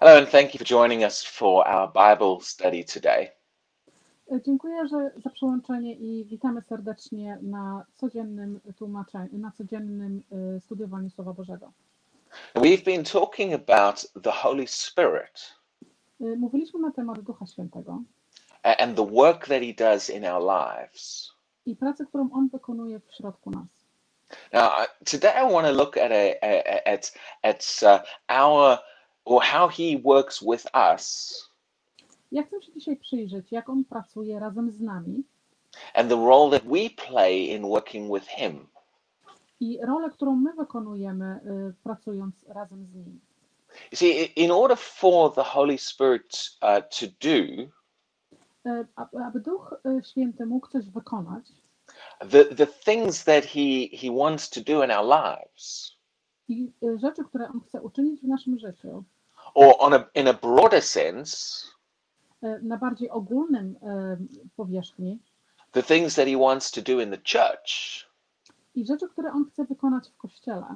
Hello, and thank you for joining us for our Bible study today. E, Dziękuję że, za przyłączenie i witamy serdecznie na codziennym tłumaczeniu, na codziennym y, studiowaniu Słowa Bożego. We've been talking about the Holy Spirit Y, Mówiliśmy na temat Ducha Świętego a- and the work that he does in our lives. i pracy, którą On wykonuje w środku nas. Now, I- today I want to look at a, a- a- at at uh, our or how he works with us Ja chcę się dzisiaj przyjrzeć, jak On pracuje razem z nami and the role that we play in working with him. i rolę, którą my wykonujemy, y, pracując razem z Nim. You see, i- in order for the Holy Spirit uh, to do Y, Aby, aby Duch y, Święty mógł coś wykonać the the things that he he wants to do in our lives, i y, rzeczy, które On chce uczynić w naszym życiu, or on a in a broader sense, y, na bardziej ogólnym y, powierzchni, the things that he wants to do in the church. i rzeczy, które On chce wykonać w Kościele.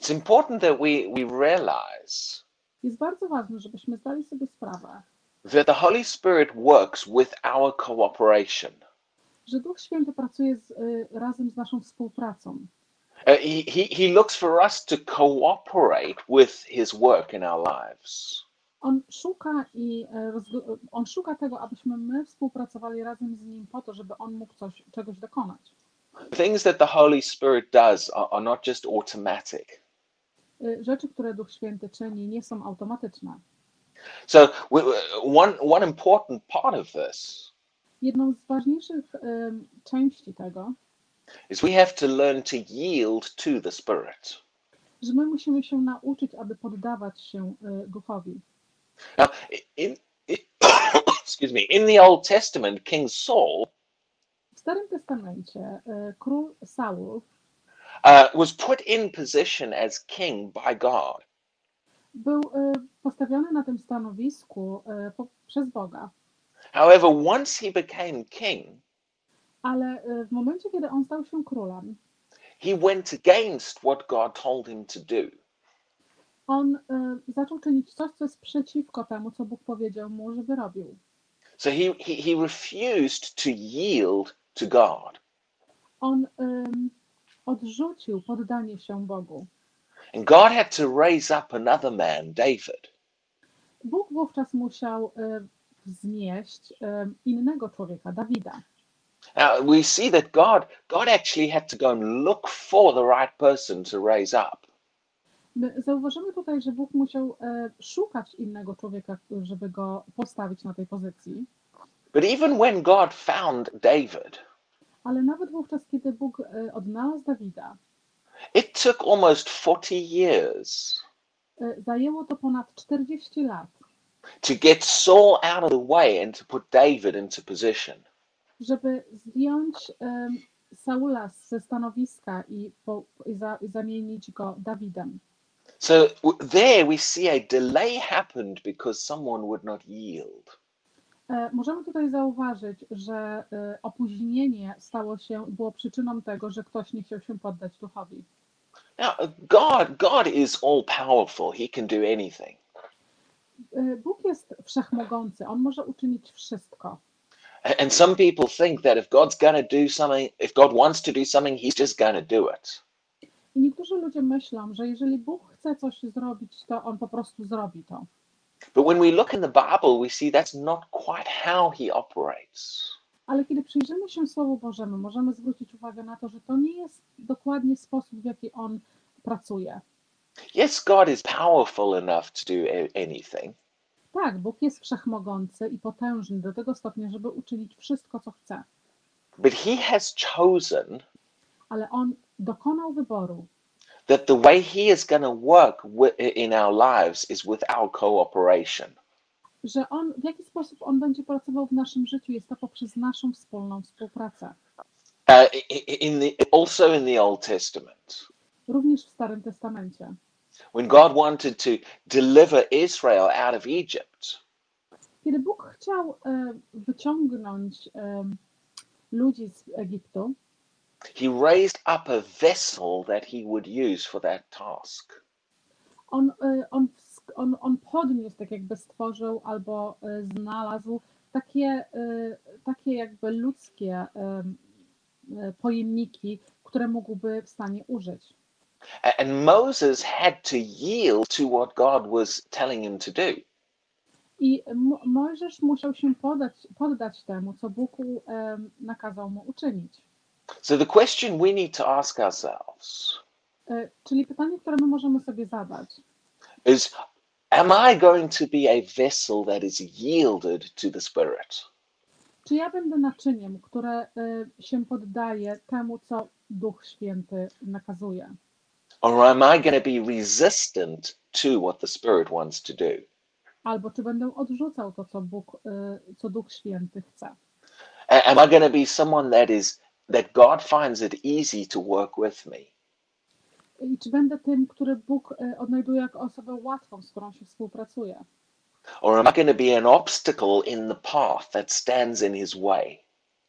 It's important that we we realize Jest bardzo ważne, żebyśmy zdali sobie sprawę, that the Holy Spirit works with our cooperation. że Duch Święty pracuje z, y, razem z naszą współpracą. Uh, he, he, he looks for us to cooperate with his work in our lives. On szuka, i, y, rozgo- on szuka tego, abyśmy my współpracowali razem z Nim po to, żeby On mógł coś, czegoś dokonać. The things that the Holy Spirit does are, are not just automatic. Y, Rzeczy, które Duch Święty czyni, nie są automatyczne. So, we, we- one, one important part of this Jedną z ważniejszych y, części tego, is we have to learn to yield to the Spirit. że my musimy się nauczyć, aby poddawać się y, Duchowi. Now, in, in, excuse me, in the Old Testament, King Saul W Starym Testamencie y, król Saul uh, was put in position as king by God. był y, postawiony na tym stanowisku y, po, przez Boga, However, once he became king, ale y, w momencie, kiedy on stał się królem, he went against what God told him to do. on y, zaczął czynić coś, co jest przeciwko temu, co Bóg powiedział mu, żeby robił. So he, he, he refused to yield to God. On ym, odrzucił poddanie się Bogu. And God had to raise up another man, David. Bóg wówczas musiał y, wznieść y, innego człowieka, Dawida. Now we see that God God actually had to go and look for the right person to raise up. My zauważymy tutaj, że Bóg musiał y, szukać innego człowieka, żeby go postawić na tej pozycji. But even when God found David, Ale nawet wówczas, kiedy Bóg y, odnalazł Dawida, it took almost 40 years Y, Zajęło to ponad 40 lat, to get Saul out of the way and to put David into position. żeby zdjąć em, Saula ze stanowiska i, po, i, za, i zamienić go Dawidem. So w- there we see a delay happened because someone would not yield. E, Możemy tutaj zauważyć, że e, opóźnienie stało się, było przyczyną tego, że ktoś nie chciał się poddać duchowi. Now God God is all powerful. He can do anything. E, Bóg jest wszechmogący, On może uczynić wszystko. A- And some people think that if God's going to do something, if God wants to do something, he's just going to do it. I niektórzy ludzie myślą, że jeżeli Bóg chce coś zrobić, to On po prostu zrobi to. But when we look in the Bible, we see that's not quite how he operates. Ale kiedy przyjrzymy się Słowu Bożemu, możemy zwrócić uwagę na to, że to nie jest dokładnie sposób, w jaki On pracuje. Yes, God is powerful enough to do a- anything, Tak, Bóg jest wszechmogący i potężny do tego stopnia, żeby uczynić wszystko, co chce, but he has chosen ale On dokonał wyboru, that the way he is going to work wi- in our lives is with our cooperation. że On, w jaki sposób On będzie pracował w naszym życiu, jest to poprzez naszą wspólną współpracę. Uh, i- i- in the, also in the Old Testament, Również w Starym Testamencie. when God wanted to deliver Israel out of Egypt, Kiedy Bóg chciał e, wyciągnąć e, ludzi z Egiptu, he raised up a vessel that he would use for that task. on, e, on, wsk- on, on podniósł, tak jakby stworzył albo y, znalazł takie, y, takie jakby ludzkie y, y, pojemniki, które mógłby w stanie użyć. A- And Moses had to yield to what God was telling him to do. I Mo- Mojżesz musiał się podać, poddać temu, co Bóg u- em, nakazał mu uczynić. So the question we need to ask ourselves E, Czyli pytanie, które my możemy sobie zadać, is Am I going to be a vessel that is yielded to the Spirit? czy ja będę naczyniem, które e, się poddaje temu, co Duch Święty nakazuje? Or am I going to be resistant to what the Spirit wants to do? Albo czy będę odrzucał to, co, Bóg, e, co Duch Święty chce? A- Am I going to be someone that is that God finds it easy to work with me? I czy będę tym, który Bóg e, odnajduje jako osobę łatwą, z którą się współpracuje? Or am I going to be an obstacle in the path that stands in his way?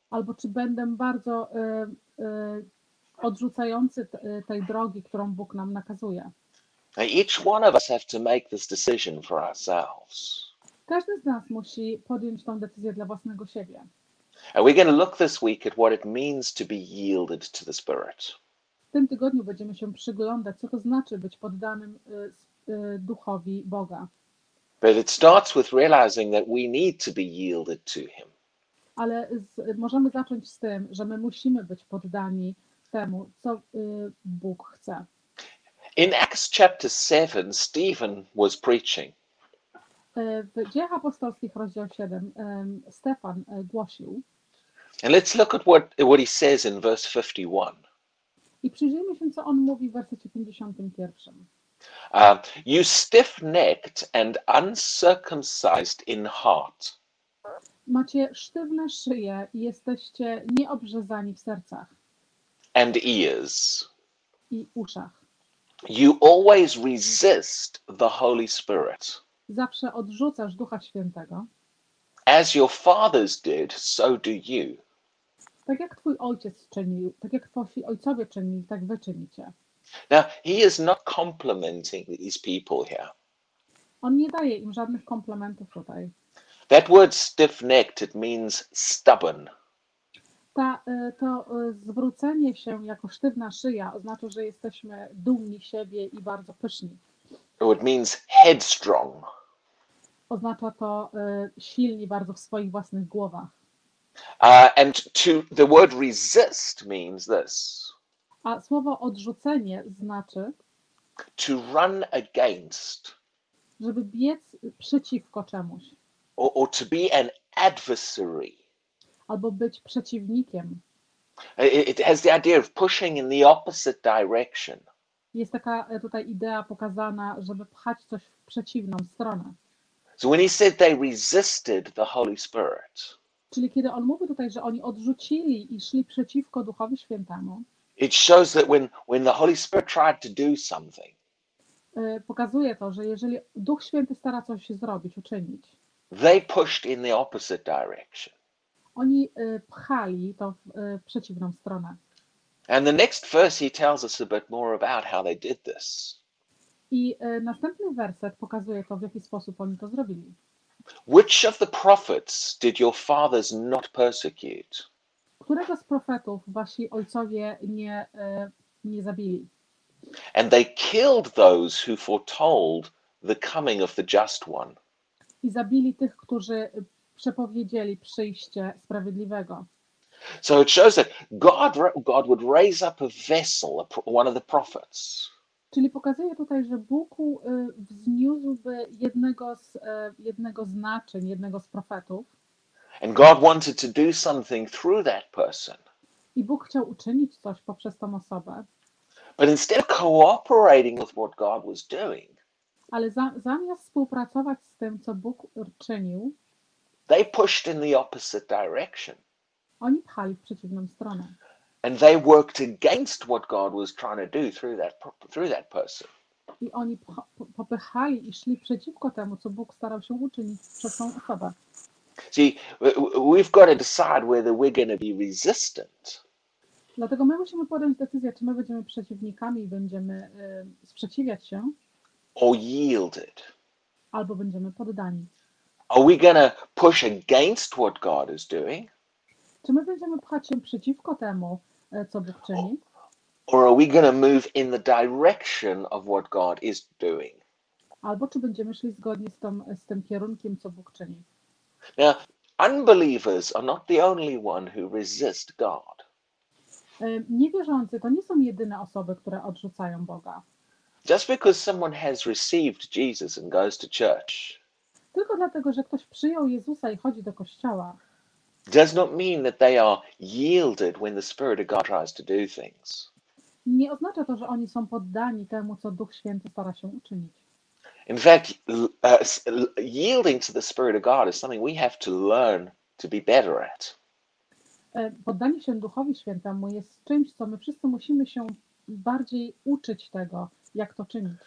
Albo czy będę bardzo e, e, odrzucający t- e, tej drogi, którą Bóg nam nakazuje? Now, each one of us have to make this decision for ourselves. Każdy z nas musi podjąć tą decyzję dla własnego siebie. And we're going to look this week at what it means to be yielded to the Spirit. W tym tygodniu będziemy się przyglądać, co to znaczy być poddanym y, s- y, duchowi Boga. But it starts with realizing that we need to be yielded to him. Ale z, możemy zacząć z tym, że my musimy być poddani temu, co y, Bóg chce. In Acts chapter 7, Stephen was preaching. Y, W Dziejach Apostolskich, rozdział 7, em, Stefan y, głosił And let's look at what, what he says in verse 51. i przyjrzyjmy się, co on mówi w wersecie 51. Uh, you stiff necked and uncircumcised in heart. Macie sztywne szyje i jesteście nieobrzezani w sercach and ears. i uszach. You always resist the Holy Spirit. Zawsze odrzucasz Ducha Świętego. As your fathers did, so do you. Tak jak twój ojciec czynił, tak jak twoi ojcowie czynili, tak wy czynicie. Now, he is not complimenting these people here. On nie daje im żadnych komplementów tutaj. That word stiff necked, it means stubborn. Ta, y, to y, zwrócenie się jako sztywna szyja oznacza, że jesteśmy dumni siebie i bardzo pyszni. or it means headstrong. Oznacza to y, silni bardzo w swoich własnych głowach. Uh, and to the word resist means this A słowo odrzucenie znaczy, to run against żeby biec przeciwko czemuś or, or to be an adversary. albo być przeciwnikiem. It, it has the idea of pushing in the opposite direction. Jest taka y, tutaj idea pokazana, żeby pchać coś w przeciwną stronę. So when he said they resisted the Holy Spirit, Czyli kiedy on mówi tutaj, że oni odrzucili i szli przeciwko Duchowi Świętemu, it shows that when, when the Holy Spirit tried to do something, y, pokazuje to, że jeżeli Duch Święty stara coś zrobić, uczynić, they pushed in the opposite direction. oni y, pchali to w y, przeciwną stronę. And the next verse, he tells us a bit more about how they did this. I y, następny werset pokazuje to, w jaki sposób oni to zrobili. Which of the prophets did your fathers not persecute? Którego z profetów wasi ojcowie nie, y, nie zabili? And they killed those who foretold the coming of the just one. I zabili tych, którzy przepowiedzieli przyjście sprawiedliwego. So it shows that God, God would raise up a vessel, a pro- one of the prophets, Czyli pokazuje tutaj, że Bóg y, wzniósłby jednego z, y, jednego z naczyń, jednego z profetów, And God wanted to do something through that person. I Bóg chciał uczynić coś poprzez tą osobę, But instead of cooperating with what God was doing, ale za, zamiast współpracować z tym, co Bóg czynił, they pushed in the opposite direction oni pchali w przeciwną stronę. and they worked against what God was trying to do through that pro- through that person. I oni pcha- po- popychali i szli przeciwko temu, co Bóg starał się uczynić przez tą osobę. See, w- w- we've got to decide whether we're going to be resistant Dlatego my musimy podjąć decyzję, czy my będziemy przeciwnikami i będziemy y, sprzeciwiać się, or yielded. albo będziemy poddani. Are we going to push against what God is doing, Czy my będziemy pchać się przeciwko temu, e, co Bóg czyni, or are we going to move in the direction of what God is doing? albo czy będziemy szli zgodnie z, tą, z tym kierunkiem, co Bóg czyni? Now, unbelievers are not the only one who resist God. E, Niewierzący to nie są jedyne osoby, które odrzucają Boga. Just because someone has received Jesus and goes to church Tylko dlatego, że ktoś przyjął Jezusa i chodzi do kościoła, does not mean that they are yielded when the Spirit of God tries to do things. nie oznacza to, że oni są poddani temu, co Duch Święty stara się uczynić. In fact, l- uh, s- l- yielding to the Spirit of God is something we have to learn to be better at. E, Poddanie się Duchowi Świętemu jest czymś, co my wszyscy musimy się bardziej uczyć tego, jak to czynić.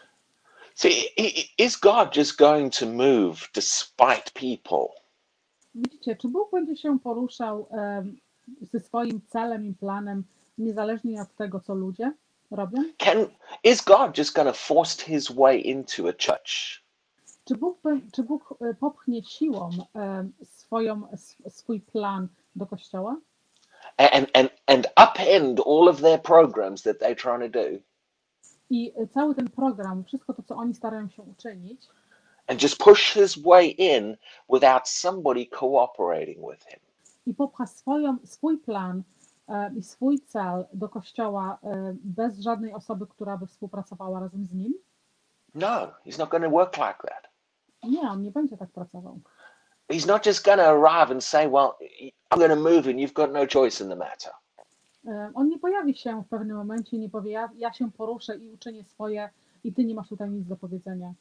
See, i- i- is God just going to move despite people? Widzicie, czy Bóg będzie się poruszał em, ze swoim celem i planem, niezależnie od tego, co ludzie robią? Can is God just going to force His way into a church? Czy Bóg, be- czy Bóg e, popchnie siłą em, swoją, s- swój plan do kościoła and and and upend all of their programs that they're trying to do i e, cały ten program, wszystko to, co oni starają się uczynić, and just push his way in without somebody cooperating with him i popcha swoją, swój plan e, i swój cel do kościoła e, bez żadnej osoby, która by współpracowała razem z nim? no he's not going to work like that Nie, on nie będzie tak pracował. he's not just going to arrive and say well i'm going to move and you've got no choice in the matter E, On nie pojawi się w pewnym momencie i nie powie, ja, ja się poruszę i uczynię swoje i ty nie masz tutaj nic do powiedzenia.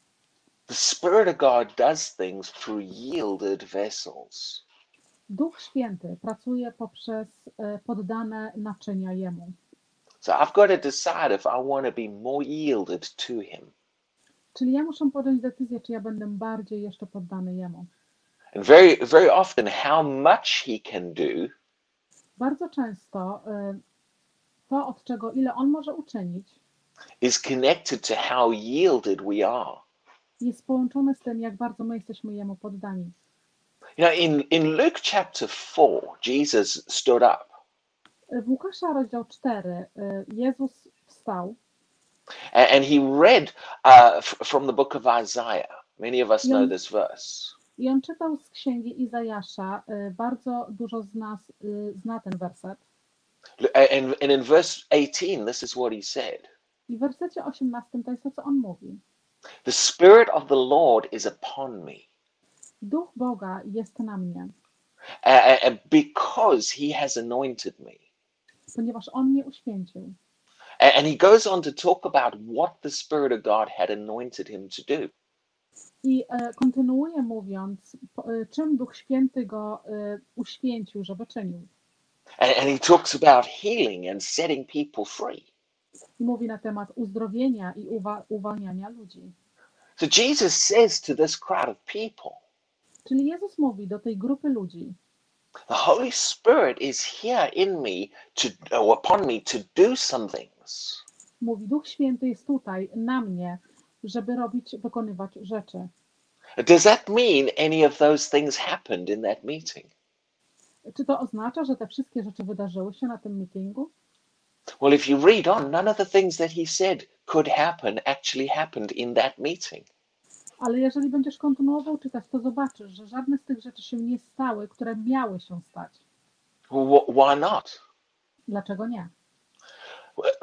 the spirit of god does things through yielded vessels Duch Święty pracuje poprzez e, poddane naczynia Jemu. so i've got to decide if i want to be more yielded to him Czyli ja muszę podjąć decyzję, czy ja będę bardziej jeszcze poddany Jemu. and very very often how much he can do Bardzo często e, to, od czego ile On może uczynić, is connected to how yielded we are jest połączone z tym, jak bardzo my jesteśmy Jemu poddani. You know, in, in Luke chapter 4, Jesus stood up E, W Łukasza rozdział 4 e, Jezus wstał and, and he read uh, f- from the book of Isaiah. Many of us know Yeah. this verse. i on czytał z księgi Izajasza. E, Bardzo dużo z nas e, zna ten werset. L- And, and in verse 18, this is what he said I w wersecie 18 to jest to, co on mówi. The Spirit of the Lord is upon me Duch Boga jest na mnie, uh, uh, because he has anointed me. ponieważ on mnie uświęcił. A- And he goes on to talk about what the Spirit of God had anointed him to do. I e, kontynuuje mówiąc, po, e, czym Duch Święty go e, uświęcił, żeby czynił. And, and he talks about healing and setting people free. I mówi na temat uzdrowienia i uwa- uwalniania ludzi. So Jesus says to this crowd of people, Czyli Jezus mówi do tej grupy ludzi, The Holy Spirit is here in me to or upon me to do some things. mówi Duch Święty jest tutaj, na mnie, żeby robić, wykonywać rzeczy. Does that mean any of those things happened in that meeting? Czy to oznacza, że te wszystkie rzeczy wydarzyły się na tym meetingu? Well, if you read on, none of the things that he said could happen actually happened in that meeting. Ale jeżeli będziesz kontynuował czytać, to zobaczysz, że żadne z tych rzeczy się nie stały, które miały się stać. Well, wh- why not? Dlaczego nie?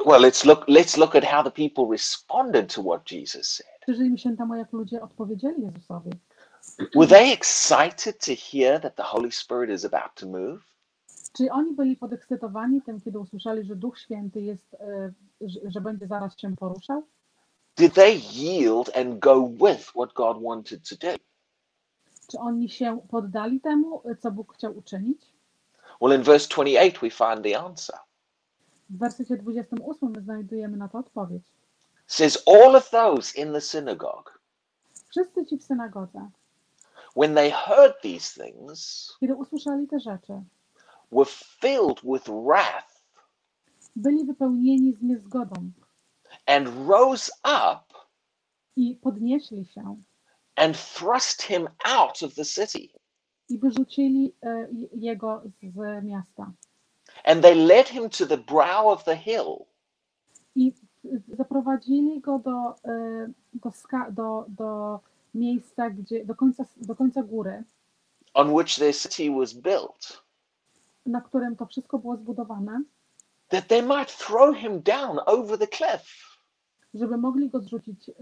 Well, let's look let's look at how the people responded to what Jesus said. Przyjrzyj mi się temu, jak ludzie odpowiedzieli Jezusowi. Were they excited to hear that the Holy Spirit is about to move? Czy oni byli podekscytowani tym, kiedy usłyszeli, że Duch Święty jest, e, że- że będzie zaraz się poruszał? Did they yield and go with what God wanted to do? Czy oni się poddali temu, co Bóg chciał uczynić? Well, in verse 28, we find the answer. W wersecie 28 znajdujemy na to odpowiedź. says all of those in the synagogue Wszyscy ci w synagodze, when they heard these things kiedy usłyszeli te rzeczy, were filled with wrath byli wypełnieni z niezgodą and rose up i podnieśli się and thrust him out of the city. i wyrzucili e, je- jego z miasta. And they led him to the brow of the hill I zaprowadzili go do, e, do, ska, do, do miejsca, gdzie, do, końca, do końca góry, on which their city was built, na którym to wszystko było zbudowane, that they might throw him down over the cliff. żeby mogli go zrzucić e,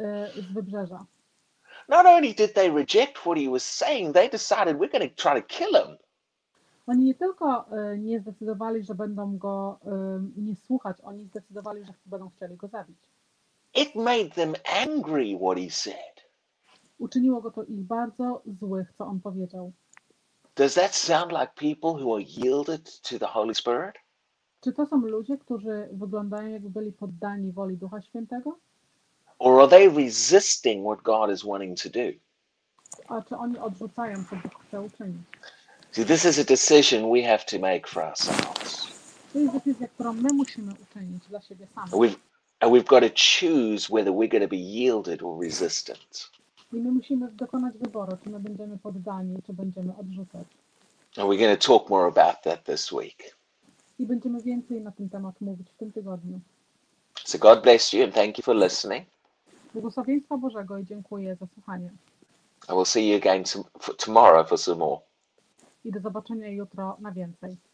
z wybrzeża. Not only did they reject what he was saying, they decided we're going to try to kill him. Oni nie tylko e, nie zdecydowali, że będą go e, nie słuchać, oni zdecydowali, że będą chcieli go zabić. It made them angry what he said. Uczyniło go to ich bardzo złych, co on powiedział. Does that sound like people who are yielded to the Holy Spirit? Czy to są ludzie, którzy wyglądają jakby byli poddani woli Ducha Świętego? Or are they resisting what God is wanting to do? A czy oni odrzucają, co Bóg chce uczynić? See, this is a decision we have to make for ourselves. To jest decyzja, którą my musimy uczynić dla siebie And samych. we've, and we've got to choose whether we're going to be yielded or resistant. I my musimy dokonać wyboru, czy my będziemy poddani, czy będziemy odrzucać. And we're going to talk more about that this week. I będziemy więcej na ten temat mówić w tym tygodniu. So God bless you and thank you for listening. Błogosławieństwa Bożego i dziękuję za słuchanie. I will see you again to, for tomorrow for some more. I do zobaczenia jutro na więcej.